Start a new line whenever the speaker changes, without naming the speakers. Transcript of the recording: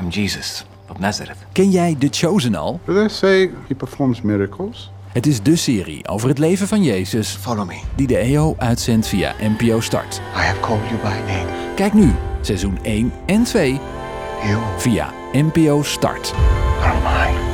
I'm Jesus of Nazareth.
Ken jij The Chosen al?
Do they say he performs miracles?
Het is de serie over het leven van Jezus
Follow me.
die de EO uitzendt via NPO Start.
I have called you by name. E
Kijk nu, seizoen 1 en 2
You
via NPO Start.
are mine.